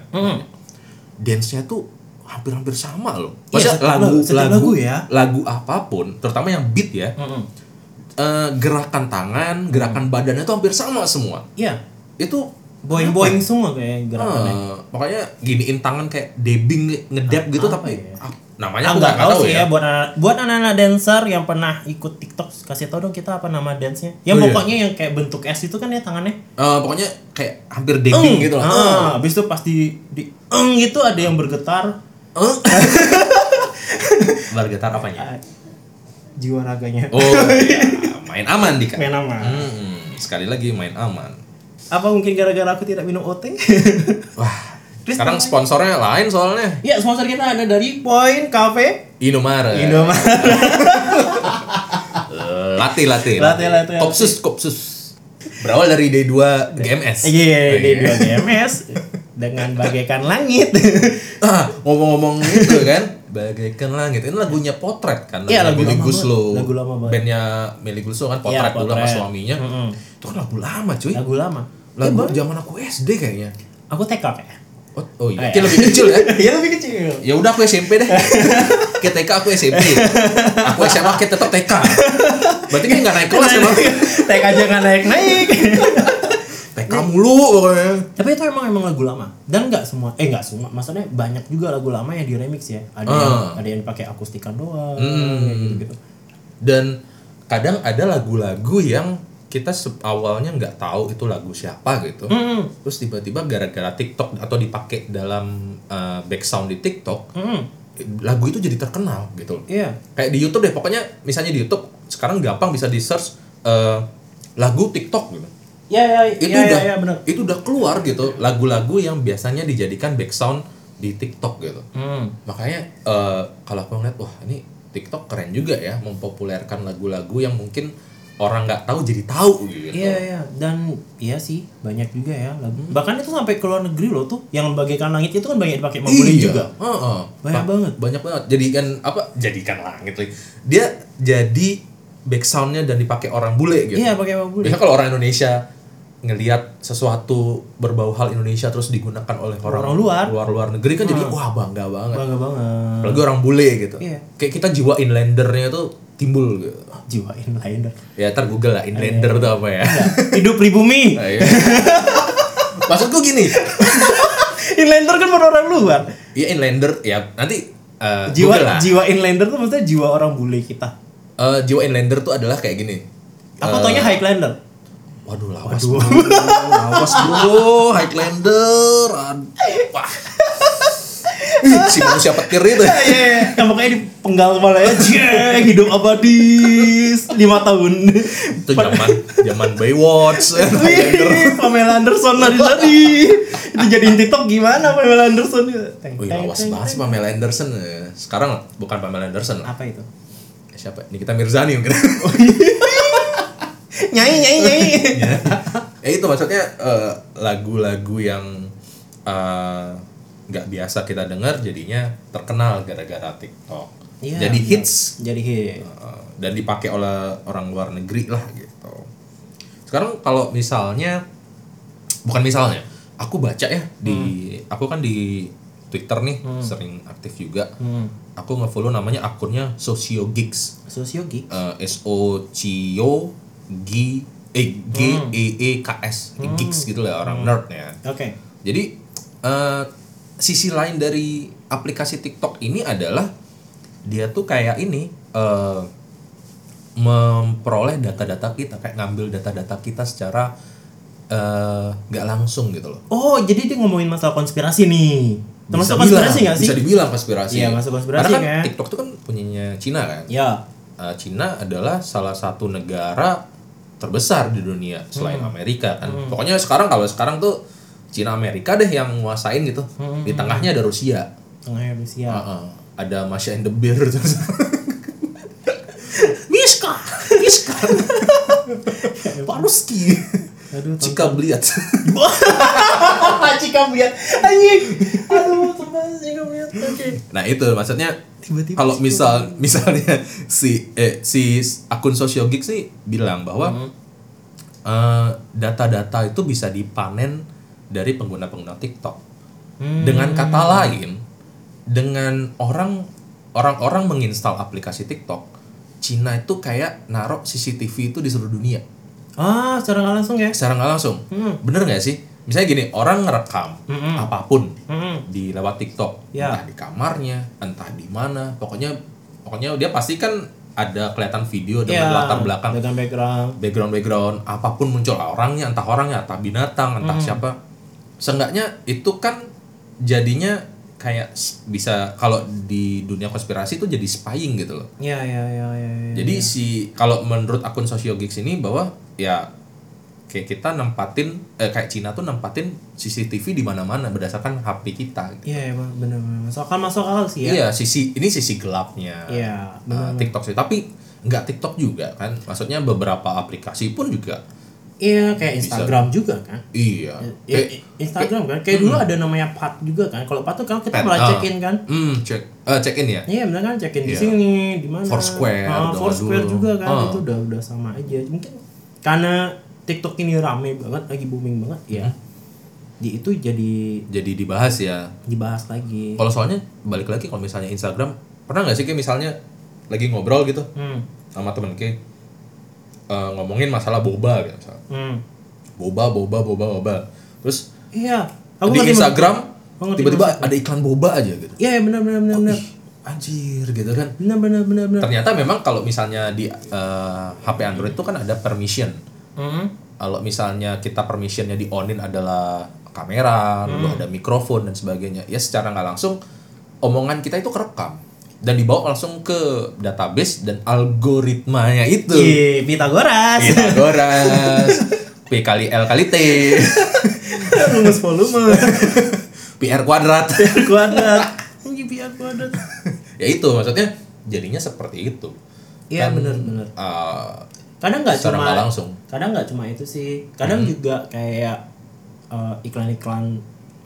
Speaker 4: dance nya tuh hampir-hampir sama loh
Speaker 3: Iya,
Speaker 4: Maksudnya
Speaker 3: setiap
Speaker 4: lagu,
Speaker 3: lagu- setiap
Speaker 4: lagu
Speaker 3: lagu ya.
Speaker 4: lagu apapun terutama yang beat ya eh, gerakan tangan gerakan
Speaker 3: Hmm.
Speaker 4: badannya tuh hampir sama semua
Speaker 3: iya
Speaker 4: itu
Speaker 3: boing boing semua kayak gerakannya
Speaker 4: eh, makanya giniin tangan kayak debing ngedep gitu
Speaker 3: Apa
Speaker 4: tapi
Speaker 3: ya?
Speaker 4: ah, namanya
Speaker 3: Ah,
Speaker 4: aku
Speaker 3: nggak
Speaker 4: nggak
Speaker 3: tahu
Speaker 4: tahu
Speaker 3: sih
Speaker 4: ya
Speaker 3: ya, buat anak, buat anak-anak dancer yang pernah ikut TikTok kasih tau dong kita apa nama dance-nya. Ya
Speaker 4: Oh, iya.
Speaker 3: pokoknya yang kayak bentuk S itu kan ya tangannya.
Speaker 4: Eh, pokoknya kayak hampir debing
Speaker 3: Eng.
Speaker 4: gitu lah
Speaker 3: Ah, habis itu pasti di eng gitu ada yang bergetar
Speaker 4: Eh. Bar getar apanya?
Speaker 3: Ah, jiwa raganya.
Speaker 4: Oh, iya. main aman Dika.
Speaker 3: Main nama.
Speaker 4: Hmm, sekali lagi main aman.
Speaker 3: Apa mungkin gara-gara aku tidak minum OT?
Speaker 4: Wah,
Speaker 3: Terus
Speaker 4: sekarang
Speaker 3: namanya?
Speaker 4: sponsornya lain soalnya.
Speaker 3: ya, sponsor kita ada dari Point Cafe
Speaker 4: Indomaret.
Speaker 3: Indomaret.
Speaker 4: Latih, latih.
Speaker 3: Latih, latih,
Speaker 4: Kopsus, kopsus. Berawal dari D2 GMS.
Speaker 3: Iya, di dua DMS dengan bagaikan langit.
Speaker 4: Ah, ngomong-ngomong itu kan, bagaikan langit. Ini lagunya potret kan.
Speaker 3: Iya, lagu
Speaker 4: Milik
Speaker 3: lama
Speaker 4: Guslo.
Speaker 3: banget. Lagu lama banget.
Speaker 4: Bandnya Milik Guslo kan potret,
Speaker 3: Iya,
Speaker 4: dulu sama
Speaker 3: Potret.
Speaker 4: suaminya.
Speaker 3: Mm-mm.
Speaker 4: Itu kan lagu lama, cuy.
Speaker 3: Lagu lama.
Speaker 4: Lagu zaman aku SD kayaknya.
Speaker 3: Aku TK kayaknya.
Speaker 4: Oh, oh
Speaker 3: Oh,
Speaker 4: iya,
Speaker 3: iya.
Speaker 4: lebih kecil ya.
Speaker 3: Iya lebih kecil.
Speaker 4: ya udah aku SMP deh ketika aku SMP aku SMA kita tetap TK berarti kan nggak naik kelas emang
Speaker 3: Tek aja nggak naik naik.
Speaker 4: TK mulu pokoknya
Speaker 3: Tapi itu emang emang lagu lama dan nggak semua, eh nggak semua, maksudnya banyak juga lagu lama yang di remix ya. Ada yang
Speaker 4: Ah.
Speaker 3: ada yang pakai akustikan doang,
Speaker 4: Hmm.
Speaker 3: kayak gitu-gitu.
Speaker 4: dan kadang ada lagu-lagu yang kita se- awalnya nggak tahu itu lagu siapa gitu
Speaker 3: Hmm,
Speaker 4: terus tiba-tiba gara-gara TikTok atau dipakai dalam eh, background di TikTok
Speaker 3: hmm,
Speaker 4: lagu itu jadi terkenal gitu loh.
Speaker 3: iya.
Speaker 4: kayak di YouTube deh pokoknya misalnya di YouTube sekarang gampang bisa di search eh, lagu TikTok gitu
Speaker 3: Iya, iya,
Speaker 4: itu
Speaker 3: iya, iya,
Speaker 4: udah
Speaker 3: iya, benar.
Speaker 4: itu udah keluar gitu lagu-lagu yang biasanya dijadikan back sound di TikTok gitu
Speaker 3: Hmm.
Speaker 4: makanya eh, kalau aku ngeliat wah ini TikTok keren juga ya mempopulerkan lagu-lagu yang mungkin orang nggak tahu jadi tahu gitu
Speaker 3: Iya iya dan iya sih banyak juga ya lagu. Bahkan itu sampai ke luar negeri loh tuh yang bagaikan langit itu kan banyak dipakai Mongolin
Speaker 4: Iya.
Speaker 3: juga.
Speaker 4: Heeh.
Speaker 3: Banyak
Speaker 4: Ba-
Speaker 3: banget.
Speaker 4: banyak banget jadikan apa jadikan langit lagi dia jadi back soundnya dan dipakai orang bule gitu
Speaker 3: Iya pakai Mongolin.
Speaker 4: Biasanya kalau orang Indonesia ngelihat sesuatu berbau hal Indonesia terus digunakan oleh orang,
Speaker 3: Orang luar.
Speaker 4: luar luar negeri kan jadi wah bangga banget
Speaker 3: Bangga banget.
Speaker 4: apalagi orang bule gitu
Speaker 3: Iya.
Speaker 4: kayak kita jiwa inlandernya tuh timbul gitu
Speaker 3: Jiwa inlander.
Speaker 4: ya ntar google lah inlander tuh apa ya
Speaker 3: Iya. Hidup pribumi.
Speaker 4: Nah, iya. maksudku gini
Speaker 3: Inlander kan buat orang luar.
Speaker 4: ya inlander ya nanti eh,
Speaker 3: Jiwa
Speaker 4: google lah
Speaker 3: jiwa inlander tuh maksudnya jiwa orang bule kita.
Speaker 4: Eh, jiwa inlander tuh adalah kayak gini Eh,
Speaker 3: Aku taunya Highlander.
Speaker 4: waduh lawas bro lawas bro highlander Aduh, wah si manusia petir itu
Speaker 3: Iya, yang makanya dipenggal kepala ya, jeng, hidup abadi lima tahun.
Speaker 4: itu zaman zaman Baywatch
Speaker 3: Iya. Wih, Pamela Anderson lari lari. Itu jadiin TikTok gimana Pamela Anderson? Teng,
Speaker 4: Wih,
Speaker 3: teng,
Speaker 4: lawas
Speaker 3: teng,
Speaker 4: banget sih
Speaker 3: teng.
Speaker 4: Pamela Anderson. eh. Sekarang lah, bukan Pamela Anderson lah.
Speaker 3: Apa itu?
Speaker 4: Siapa? Nikita Mirzani mungkin.
Speaker 3: Nyai nyai nyai.
Speaker 4: ya itu maksudnya eh, lagu-lagu yang eh, nggak biasa kita dengar jadinya terkenal gara-gara TikTok.
Speaker 3: Iya,
Speaker 4: Jadi
Speaker 3: benar.
Speaker 4: hits
Speaker 3: Jadi
Speaker 4: eh,
Speaker 3: hit.
Speaker 4: dan dipakai oleh orang luar negeri lah gitu. Sekarang kalau misalnya bukan misalnya, aku baca ya di aku kan di Twitter nih sering aktif juga.
Speaker 3: Hmm.
Speaker 4: aku ngefollow namanya akunnya Socio Gigs
Speaker 3: Sosiogi.
Speaker 4: Eh, S O C O G E G
Speaker 3: Hmm.
Speaker 4: E E K S Gigs gitu lah orang nerd ya
Speaker 3: Oke.
Speaker 4: jadi eh, sisi lain dari aplikasi TikTok ini adalah dia tuh kayak ini eh, memperoleh data-data kita kayak ngambil data-data kita secara eh, nggak langsung gitu loh
Speaker 3: Oh, jadi dia ngomongin masalah konspirasi nih.
Speaker 4: Bisa
Speaker 3: Termasuk konspirasi
Speaker 4: bilang-
Speaker 3: nggak sih?
Speaker 4: Bisa dibilang konspirasi.
Speaker 3: Iya, masuk konspirasi
Speaker 4: Karena kan
Speaker 3: kan.
Speaker 4: TikTok tuh kan punyanya Cina kan.
Speaker 3: Ya.
Speaker 4: Eh, Cina adalah salah satu negara terbesar di dunia selain Amerika kan. Pokoknya sekarang kalau sekarang tuh Cina Amerika deh yang nguasain gitu. Di tengahnya ada Rusia.
Speaker 3: Tengah Rusia.
Speaker 4: Heeh. ada Masya and the Bear terus.
Speaker 3: Miska.
Speaker 4: Miska. Paruski.
Speaker 3: Aduh,
Speaker 4: Cika Bliat.
Speaker 3: Hahaha, Cika lihat anjing. Aduh, temen. sih kamu lihat? Oke.
Speaker 4: Nah itu maksudnya
Speaker 3: Tiba-tiba
Speaker 4: kalau misal misalnya si eh, si akun social geek sih bilang bahwa eh, data-data itu bisa dipanen dari pengguna-pengguna TikTok. Dengan kata lain, dengan orang orang-orang menginstal aplikasi TikTok, Cina itu kayak narok CCTV itu di seluruh dunia
Speaker 3: Ah, secara nggak langsung ya?
Speaker 4: secara nggak langsung bener nggak sih misalnya gini orang ngerekam apapun
Speaker 3: hmm.
Speaker 4: di lewat TikTok
Speaker 3: Ya.
Speaker 4: entah di kamarnya entah di mana pokoknya pokoknya dia pasti kan ada kelihatan video dengan
Speaker 3: Iya,
Speaker 4: latar belakang
Speaker 3: Dengan background.
Speaker 4: background background apapun muncul orangnya entah orangnya entah binatang
Speaker 3: Hmm.
Speaker 4: entah siapa seenggaknya itu kan jadinya kayak s- bisa kalau di dunia konspirasi itu jadi spying gitu loh
Speaker 3: Iya, iya, iya, iya. iya.
Speaker 4: jadi si kalau menurut akun Sociogeeks ini bahwa ya kayak kita nempatin eh, kayak Cina tuh nempatin CCTV di mana-mana berdasarkan HP kita. gitu.
Speaker 3: Iya, iya, Bang. benar benar. Masuk akal, masuk akal sih ya.
Speaker 4: Iya, sisi ini sisi gelapnya.
Speaker 3: Iya,
Speaker 4: Nah, TikTok sih, tapi nggak TikTok juga kan. Maksudnya beberapa aplikasi pun juga
Speaker 3: Iya, kayak Instagram juga kan.
Speaker 4: iya.
Speaker 3: Ya,
Speaker 4: Kayak- Hmm.
Speaker 3: i- Instagram kan. Kayak dulu ada namanya Pat juga kan. Kalau Pat tuh kan kita
Speaker 4: Pat,
Speaker 3: malah
Speaker 4: ah.
Speaker 3: check-in kan.
Speaker 4: hmm, check eh, check in ya.
Speaker 3: Iya benar kan check-in di
Speaker 4: Iya.
Speaker 3: sini, di mana?
Speaker 4: Foursquare,
Speaker 3: Ah,
Speaker 4: udah
Speaker 3: Foursquare
Speaker 4: dulu.
Speaker 3: juga kan.
Speaker 4: Ah.
Speaker 3: Itu udah udah sama aja. Mungkin karena TikTok ini rame banget, lagi booming banget ya.
Speaker 4: Hmm.
Speaker 3: Di itu jadi
Speaker 4: Jadi dibahas ya.
Speaker 3: dibahas lagi.
Speaker 4: Kalau soalnya balik lagi kalau misalnya Instagram pernah nggak sih kayak misalnya lagi ngobrol gitu
Speaker 3: Hmm.
Speaker 4: sama temen kayak eh, ngomongin masalah boba gitu misalnya.
Speaker 3: Hmm.
Speaker 4: boba boba boba boba terus
Speaker 3: Iya.
Speaker 4: di
Speaker 3: ngerti maksud-
Speaker 4: Instagram
Speaker 3: Aku ngerti
Speaker 4: tiba-tiba ada iklan boba aja gitu
Speaker 3: Iya iya, benar benar benar benar.
Speaker 4: Ih, anjir gitu kan
Speaker 3: Benar benar benar benar.
Speaker 4: ternyata memang kalau misalnya di eh, HP Android itu kan ada permission
Speaker 3: Hmm.
Speaker 4: kalau misalnya kita permissionnya di onin adalah kamera lalu
Speaker 3: Hmm.
Speaker 4: ada mikrofon dan sebagainya ya secara nggak langsung omongan kita itu kerekam dan dibawa langsung ke database dan algoritmanya itu
Speaker 3: Iya, Pitagoras.
Speaker 4: Pitagoras P kali L kali T
Speaker 3: Rumus volume.
Speaker 4: PR kuadrat
Speaker 3: PR kuadrat. Anjing PR kuadrat.
Speaker 4: ya itu maksudnya jadinya seperti itu
Speaker 3: Iya
Speaker 4: Dan,
Speaker 3: benar benar.
Speaker 4: eh,
Speaker 3: Kadang nggak
Speaker 4: secara nggak
Speaker 3: cuma
Speaker 4: langsung
Speaker 3: kadang nggak cuma itu sih kadang juga kayak eh, iklan-iklan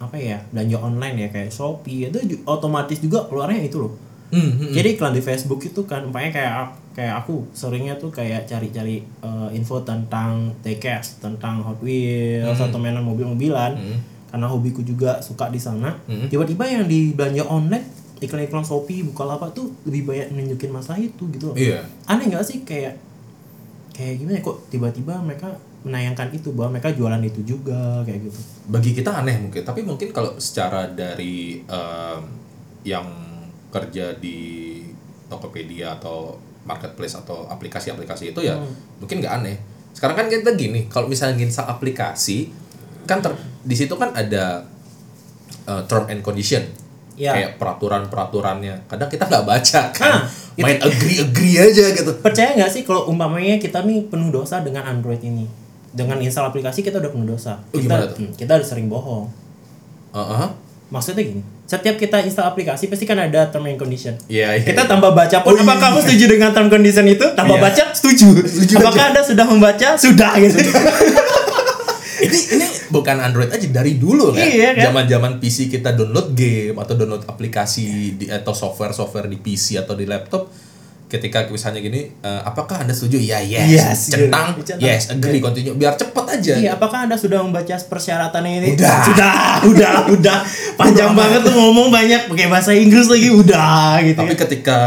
Speaker 3: apa ya belanja online ya kayak shopee itu ju- otomatis juga keluarnya itu loh
Speaker 4: Hmm, hmm, hmm.
Speaker 3: jadi iklan di Facebook itu kan umpamanya kayak ak- kayak aku seringnya tuh kayak cari-cari eh, info tentang TKS tentang Hot Wheels atau mainan mobil-mobilan
Speaker 4: Hmm.
Speaker 3: karena hobiku juga suka di sana
Speaker 4: Hmm.
Speaker 3: tiba-tiba yang di belanja online iklan-iklan shopee bukalapak tuh lebih banyak nunjukin masalah itu gitu loh
Speaker 4: iya
Speaker 3: aneh nggak sih kayak kayak gimana ya, kok tiba-tiba mereka menayangkan itu bahwa mereka jualan itu juga kayak gitu
Speaker 4: bagi kita aneh mungkin tapi mungkin kalau secara dari em, yang kerja di Tokopedia atau marketplace atau aplikasi-aplikasi itu
Speaker 3: Hmm.
Speaker 4: ya mungkin nggak aneh sekarang kan kita gini kalau misalnya nginstal aplikasi kan ter- di situ kan ada eh, term and condition
Speaker 3: Ya.
Speaker 4: kayak peraturan-peraturannya kadang kita nggak baca
Speaker 3: Ah,
Speaker 4: kan main agree agree aja gitu
Speaker 3: percaya nggak sih kalau umpamanya kita nih penuh dosa dengan Android ini dengan install aplikasi kita udah penuh dosa
Speaker 4: Oh,
Speaker 3: kita
Speaker 4: gimana tuh?
Speaker 3: hmm, kita udah sering bohong
Speaker 4: Heeh.
Speaker 3: maksudnya gini setiap kita install aplikasi pasti kan ada term and condition
Speaker 4: Iya, iya.
Speaker 3: kita tambah baca pun
Speaker 4: Oh,
Speaker 3: apa
Speaker 4: iya.
Speaker 3: kamu setuju dengan term condition itu tambah
Speaker 4: Iya.
Speaker 3: baca setuju,
Speaker 4: Setuju
Speaker 3: apakah anda sudah membaca sudah gitu
Speaker 4: ini ini bukan Android aja dari dulu kan.
Speaker 3: Iya, kan?
Speaker 4: Zaman-zaman PC kita download game atau download aplikasi di atau software-software di PC atau di laptop ketika misalnya gini eh, apakah Anda setuju? Ya, yes.
Speaker 3: Yes,
Speaker 4: Centang.
Speaker 3: gitu. Centang.
Speaker 4: Yes, agree continue biar cepet aja.
Speaker 3: Iya, apakah Anda sudah membaca persyaratannya ini?
Speaker 4: Udah.
Speaker 3: Sudah, udah, udah. Panjang banget tuh ngomong banyak pakai bahasa Inggris lagi udah gitu.
Speaker 4: Tapi
Speaker 3: kan.
Speaker 4: ketika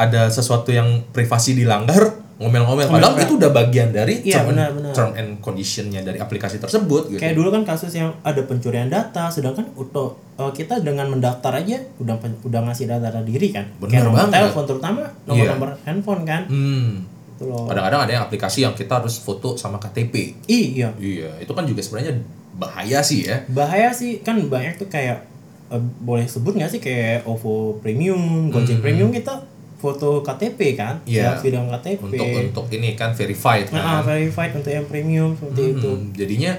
Speaker 4: ada sesuatu yang privasi dilanggar ngomel-ngomel padahal
Speaker 3: Ngomel-ngomel.
Speaker 4: itu udah bagian dari
Speaker 3: Iya,
Speaker 4: term,
Speaker 3: benar, benar.
Speaker 4: term and conditionnya dari aplikasi tersebut gitu.
Speaker 3: Kayak dulu kan kasus yang ada pencurian data, sedangkan untuk eh, kita dengan mendaftar aja udah pen- udah ngasih data diri kan.
Speaker 4: Bener
Speaker 3: Kayak nomor
Speaker 4: banget. Iya.
Speaker 3: telepon terutama, nomor-nomor handphone kan.
Speaker 4: Hmm.
Speaker 3: Itu loh.
Speaker 4: Kadang-kadang ada yang aplikasi yang kita harus foto sama KTP.
Speaker 3: Iya.
Speaker 4: Iya, itu kan juga sebenarnya bahaya sih ya.
Speaker 3: Bahaya sih kan banyak tuh kayak eh, boleh sebut nggak sih kayak OVO Premium, Gojek Premium kita foto KTP kan,
Speaker 4: Hmm. Iya.
Speaker 3: selfie dengan KTP.
Speaker 4: Untuk untuk ini kan verified
Speaker 3: Nah,
Speaker 4: kan.
Speaker 3: verified untuk yang premium seperti itu.
Speaker 4: Hmm, jadinya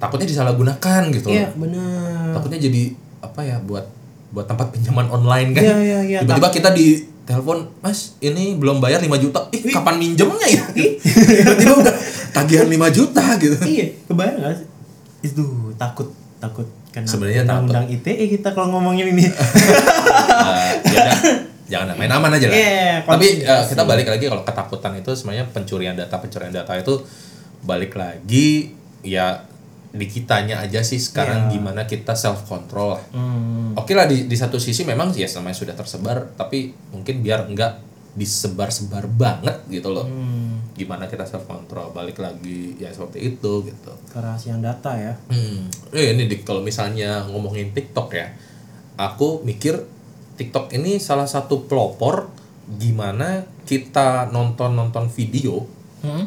Speaker 4: takutnya disalahgunakan gitu loh.
Speaker 3: Iya, benar.
Speaker 4: Takutnya jadi apa ya buat buat tempat pinjaman online kan.
Speaker 3: Iya, iya, iya.
Speaker 4: Tiba-tiba kita di telepon, "Mas, ini belum bayar 5 juta." Ih, kapan minjemnya ya? Tiba-tiba udah tagihan 5 juta gitu.
Speaker 3: Iya, kebayang gak sih? Itu takut takut kena
Speaker 4: Sebenarnya takut.
Speaker 3: undang-undang ITE kita kalau ngomongin ini.
Speaker 4: Eh, ya udah, jangan lah, main aman aja lah.
Speaker 3: Iya,
Speaker 4: Tapi eh,
Speaker 3: konspirasi.
Speaker 4: kita balik lagi kalau ketakutan itu sebenarnya pencurian data, pencurian data itu balik lagi ya di kitanya aja sih sekarang
Speaker 3: Iya.
Speaker 4: gimana kita self control lah.
Speaker 3: Hmm.
Speaker 4: Oke lah di, di satu sisi memang ya semuanya sudah tersebar, tapi mungkin biar enggak disebar-sebar banget gitu loh.
Speaker 3: Hmm.
Speaker 4: Gimana kita self control balik lagi ya seperti itu gitu.
Speaker 3: Kerahasiaan data ya.
Speaker 4: Hmm. Eh, ini Dik, kalau misalnya ngomongin TikTok ya, aku mikir TikTok ini salah satu pelopor gimana kita nonton-nonton video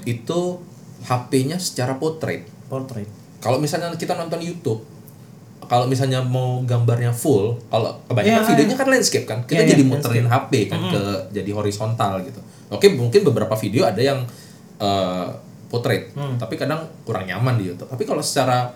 Speaker 4: itu HP-nya secara portrait.
Speaker 3: Portrait.
Speaker 4: Kalau misalnya kita nonton YouTube, kalau misalnya mau gambarnya full, kalau kebanyakan
Speaker 3: Iya,
Speaker 4: videonya kan landscape kan, kita
Speaker 3: Iya,
Speaker 4: jadi
Speaker 3: iya,
Speaker 4: muterin HP kan ke jadi horizontal gitu. Oke, mungkin beberapa video ada yang eh, portrait, tapi kadang kurang nyaman di YouTube. Tapi kalau secara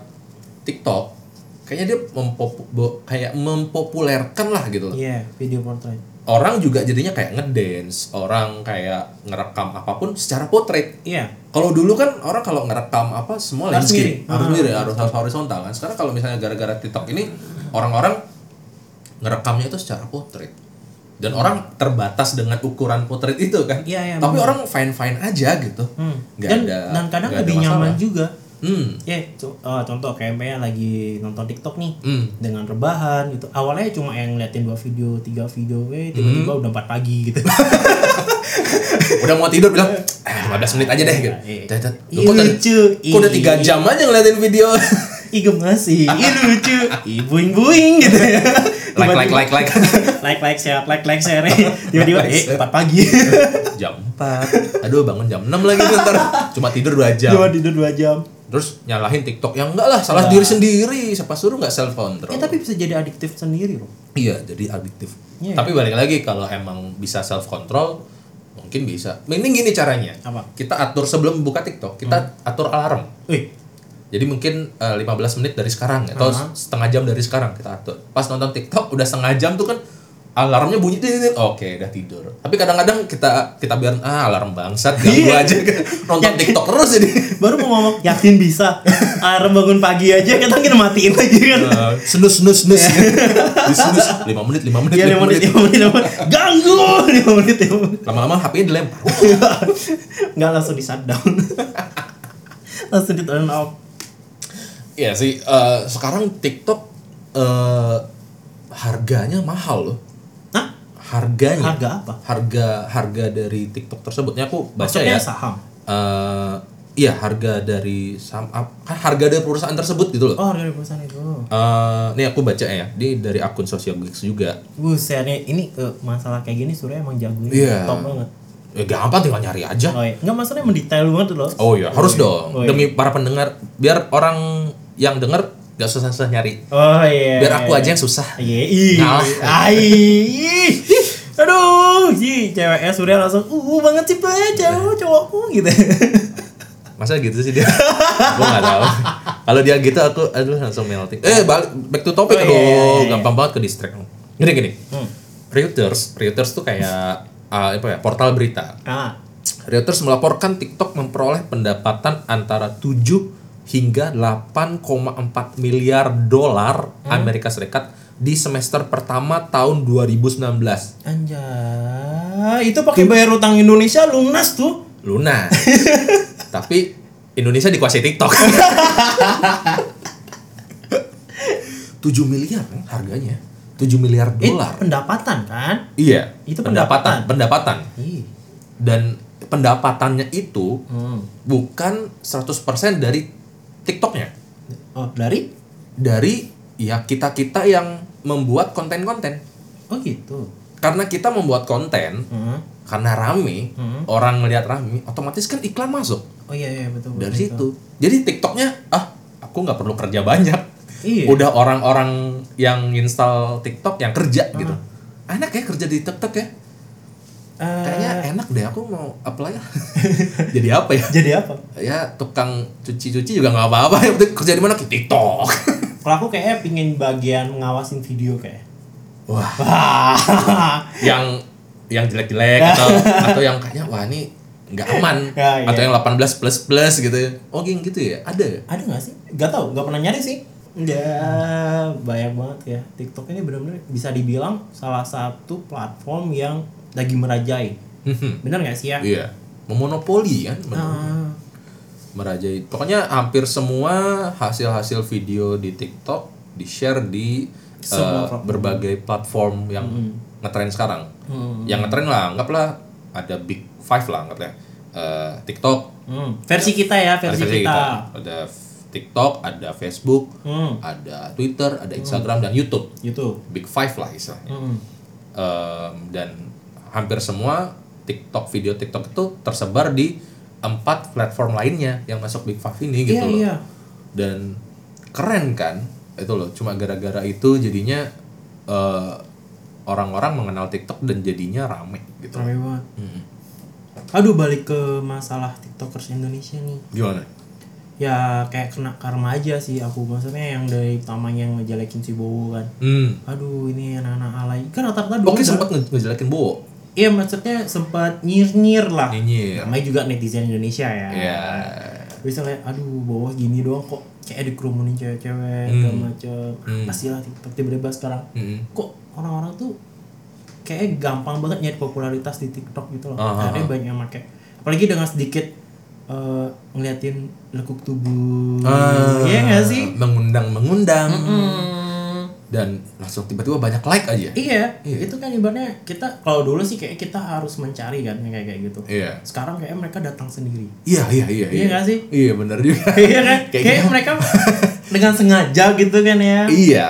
Speaker 4: TikTok, kayaknya dia mempopu- bo- kayak mempopulerkan lah gitu. loh
Speaker 3: Iya, video portrait.
Speaker 4: Orang juga jadinya kayak ngedance, orang kayak ngerekam apapun secara portrait.
Speaker 3: Iya.
Speaker 4: Kalau dulu kan orang kalau ngerekam apa semua
Speaker 3: Harus
Speaker 4: landscape
Speaker 3: miring. Ah.
Speaker 4: harus miring, harus harus horizontal kan. Sekarang kalau misalnya gara-gara TikTok ini orang-orang ngerekamnya itu secara portrait. Dan orang terbatas dengan ukuran portrait itu kan.
Speaker 3: Hmm. Iya, iya,
Speaker 4: Tapi
Speaker 3: benar.
Speaker 4: orang fine-fine aja gitu.
Speaker 3: Hmm.
Speaker 4: Nggak
Speaker 3: dan
Speaker 4: ada-
Speaker 3: dan kadang
Speaker 4: nggak ada
Speaker 3: lebih nyaman
Speaker 4: masalah.
Speaker 3: juga.
Speaker 4: Hmm.
Speaker 3: Ya, co- eh, contoh kayak Mea lagi nonton TikTok nih
Speaker 4: Hmm.
Speaker 3: dengan rebahan gitu. Awalnya cuma yang ngeliatin dua video, tiga video, eh tiba-tiba
Speaker 4: Hmm.
Speaker 3: udah empat pagi gitu.
Speaker 4: Udah mau tidur bilang, "Ah, 15 menit aja deh." gitu.
Speaker 3: Iya.
Speaker 4: Tet, tet.
Speaker 3: Ih,
Speaker 4: Kok tadi-
Speaker 3: lucu. Iya.
Speaker 4: kok udah 3
Speaker 3: Ih.
Speaker 4: jam aja ngeliatin video.
Speaker 3: Ih gemesin, ih lucu, ih buing-buing gitu ya.
Speaker 4: like like
Speaker 3: Tiba-tiba-
Speaker 4: like like.
Speaker 3: like like share like like share tiba-tiba
Speaker 4: Like, like,
Speaker 3: eh
Speaker 4: share.
Speaker 3: empat pagi
Speaker 4: jam 4. Aduh, bangun jam 6 lagi nih ntar. Cuma tidur 2 jam.
Speaker 3: cuma tidur dua jam
Speaker 4: terus nyalahin TikTok yang enggak lah salah
Speaker 3: Iya.
Speaker 4: diri sendiri siapa suruh nggak self control
Speaker 3: ya tapi bisa jadi adiktif sendiri loh
Speaker 4: iya jadi adiktif
Speaker 3: Iya.
Speaker 4: tapi balik lagi kalau emang bisa self control mungkin bisa mending gini caranya
Speaker 3: Apa? Hmm.
Speaker 4: kita atur sebelum buka TikTok kita atur alarm
Speaker 3: eh
Speaker 4: jadi mungkin eh, 15 menit dari sekarang atau setengah jam dari sekarang kita atur pas nonton TikTok udah setengah jam tuh kan alarmnya bunyi dit, dit, dit. oke udah tidur tapi kadang-kadang kita kita biar ah alarm bangsat ganggu
Speaker 3: Iya.
Speaker 4: aja nonton TikTok terus jadi
Speaker 3: baru mau ngomong yakin bisa alarm bangun pagi aja kita kita matiin aja kan
Speaker 4: Eh, snus snus snus disenus 5 menit 5 menit
Speaker 3: Iya,
Speaker 4: 5
Speaker 3: lima menit,
Speaker 4: menit
Speaker 3: lima menit, lima menit. Ganggu! Lima menit, lima menit.
Speaker 4: lama-lama HP-nya dilempar
Speaker 3: Nggak langsung di shutdown. langsung di turn off.
Speaker 4: Iya sih eh, sekarang TikTok eh, harganya mahal loh
Speaker 3: Hah?
Speaker 4: harganya
Speaker 3: Harga apa?
Speaker 4: harga harga dari TikTok tersebutnya aku baca
Speaker 3: Maksudnya
Speaker 4: ya
Speaker 3: saham?
Speaker 4: Eh, iya harga dari saham ap- kan harga dari perusahaan tersebut gitu loh
Speaker 3: Oh, harga di perusahaan itu.
Speaker 4: Eh, nih aku baca ya ini dari akun sosial Geeks juga
Speaker 3: Buset, nih, ini eh, masalah kayak gini Surya emang jagoin.
Speaker 4: Iya.
Speaker 3: Top banget.
Speaker 4: ya gampang tinggal nyari aja
Speaker 3: Oh, iya. Nggak, maksudnya mendetail banget loh.
Speaker 4: Oh iya, harus dong.
Speaker 3: Oh iya.
Speaker 4: Demi para pendengar, biar orang yang denger gak susah-susah nyari.
Speaker 3: Oh iya.
Speaker 4: Biar aku aja yang susah.
Speaker 3: Iya. ih.
Speaker 4: Nah.
Speaker 3: Ai. ih. Aduh, si ceweknya sudah langsung uh banget sih Pak, cowok cowokku gitu.
Speaker 4: Masa gitu sih dia? Gue gak tahu. Kalau dia gitu aku aduh langsung melting. Eh, balik back to topic
Speaker 3: Oh iya,
Speaker 4: aduh,
Speaker 3: iya, iya.
Speaker 4: gampang banget ke distract. Gini gini.
Speaker 3: Hmm.
Speaker 4: Reuters, Reuters tuh kayak ah, apa ya? Portal berita.
Speaker 3: Ah,
Speaker 4: Reuters melaporkan TikTok memperoleh pendapatan antara 7 hingga 8,4 miliar dolar Amerika Serikat di semester pertama tahun 2019.
Speaker 3: anjay. Itu pakai bayar utang Indonesia lunas tuh.
Speaker 4: lunas tapi Indonesia dikuasai TikTok 7 miliar kan harganya 7 miliar
Speaker 3: Eh,
Speaker 4: dolar
Speaker 3: pendapatan kan?
Speaker 4: iya
Speaker 3: itu
Speaker 4: pendapatan pendapatan
Speaker 3: Ih.
Speaker 4: dan pendapatannya itu
Speaker 3: Hmm.
Speaker 4: bukan 100% dari TikToknya
Speaker 3: Oh, dari?
Speaker 4: dari ya kita-kita yang membuat konten-konten
Speaker 3: Oh gitu.
Speaker 4: karena kita membuat konten
Speaker 3: Hmm.
Speaker 4: karena rame
Speaker 3: Hmm.
Speaker 4: orang ngelihat rame otomatis kan iklan masuk
Speaker 3: Oh iya iya betul.
Speaker 4: dari
Speaker 3: betul.
Speaker 4: situ jadi tiktoknya ah aku nggak perlu kerja banyak
Speaker 3: Iya.
Speaker 4: udah orang-orang yang install tiktok yang kerja
Speaker 3: Ah.
Speaker 4: gitu enak ya kerja di tiktok ya
Speaker 3: Eh,
Speaker 4: kayaknya enak deh aku mau apply lah. jadi apa ya
Speaker 3: jadi apa?
Speaker 4: ya tukang cuci-cuci juga nggak apa-apa yang penting kerja di mana Di tiktok
Speaker 3: Kalau aku kayaknya pingin bagian ngawasin video kayak.
Speaker 4: wah
Speaker 3: Wah.
Speaker 4: yang yang jelek-jelek atau atau yang kayaknya wah ini nggak aman
Speaker 3: Ya, iya.
Speaker 4: atau yang 18 plus plus gitu ya oh geng gitu ya ada ya
Speaker 3: ada nggak sih? Gak tau, gak pernah nyari sih. Ya, banyak banget ya. TikTok ini benar-benar bisa dibilang salah satu platform yang lagi merajai.
Speaker 4: Mhm.
Speaker 3: Bener nggak sih ya?
Speaker 4: Iya. Memonopoli kan. men-
Speaker 3: Ah,
Speaker 4: merajai. Pokoknya hampir semua hasil-hasil video di TikTok di-share di eh,
Speaker 3: Semua platform. Hmm.
Speaker 4: berbagai platform yang ngetren sekarang. Yang ngetren lah, anggaplah ada big five lah anggaplah. Eh, TikTok,
Speaker 3: hmm. Versi kita ya,
Speaker 4: ada
Speaker 3: versi,
Speaker 4: versi
Speaker 3: kita.
Speaker 4: Ada f- TikTok, ada Facebook,
Speaker 3: Hmm.
Speaker 4: ada Twitter, ada Instagram dan YouTube.
Speaker 3: Gitu.
Speaker 4: Big five lah istilahnya.
Speaker 3: Hmm.
Speaker 4: Em, dan hampir semua TikTok video TikTok itu tersebar di empat platform lainnya yang masuk Big Five ini gitu
Speaker 3: Iya,
Speaker 4: loh.
Speaker 3: iya.
Speaker 4: Dan keren kan itu loh. Cuma gara-gara itu jadinya eh, orang-orang mengenal TikTok dan jadinya rame gitu.
Speaker 3: Rame banget.
Speaker 4: Hmm.
Speaker 3: Aduh balik ke masalah TikTokers Indonesia nih.
Speaker 4: Gimana?
Speaker 3: Ya kayak kena karma aja sih aku maksudnya yang dari utamanya yang ngejelekin si Bowo kan.
Speaker 4: Hmm.
Speaker 3: Aduh ini anak-anak alay. Kan rata-rata dulu
Speaker 4: Oke
Speaker 3: udah-
Speaker 4: sempat nge- ngejelekin Bowo.
Speaker 3: Iya maksudnya sempat nyir-nyir lah.
Speaker 4: Nyinyir.
Speaker 3: Namanya juga netizen Indonenya ya.
Speaker 4: Ya.
Speaker 3: Bisa kayak aduh bawa gini doang kok kayak dikerumunin cewek-cewek segala macem. Pastilah TikTok tiba-tiba sekarang.
Speaker 4: Hmm.
Speaker 3: Kok orang-orang tuh kayak gampang banget nyari popularitas di TikTok gitu loh.
Speaker 4: Ah, ah,
Speaker 3: Akhirnya banyak yang make. Apalagi dengan sedikit eh, ngeliatin lekuk tubuh.
Speaker 4: Ah,
Speaker 3: Iya nggak sih?
Speaker 4: Mengundang mengundang
Speaker 3: Hmm.
Speaker 4: dan langsung tiba-tiba banyak like aja.
Speaker 3: Iya, itu kan ibaratnya kita kalau dulu sih kayak kita harus mencari kan yang kayak kayak gitu.
Speaker 4: Iya.
Speaker 3: Sekarang kayak mereka datang sendiri.
Speaker 4: Iya iya iya.
Speaker 3: Iya nggak sih?
Speaker 4: Iya benar juga.
Speaker 3: Iya kan?
Speaker 4: Kayak
Speaker 3: Kayak, mereka dengan sengaja gitu kan ya.
Speaker 4: iya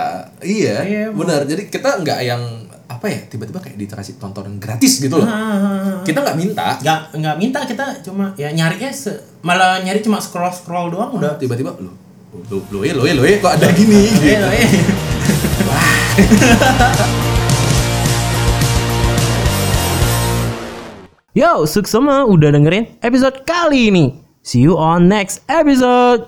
Speaker 4: iya
Speaker 3: Iya, Bu.
Speaker 4: benar. Jadi kita nggak yang apa ya tiba-tiba kayak dikasih tontonan gratis gitu loh. Kita nggak minta.
Speaker 3: Nggak nggak minta kita cuma ya nyarinya se- malah nyari cuma scroll scroll doang udah.
Speaker 4: Tiba-tiba lo lo lo eh, lo eh, lo eh, kok ada gini gitu.
Speaker 3: Iya, iya.
Speaker 2: Yo, Suksema udah dengerin episode kali ini. See you on next episode.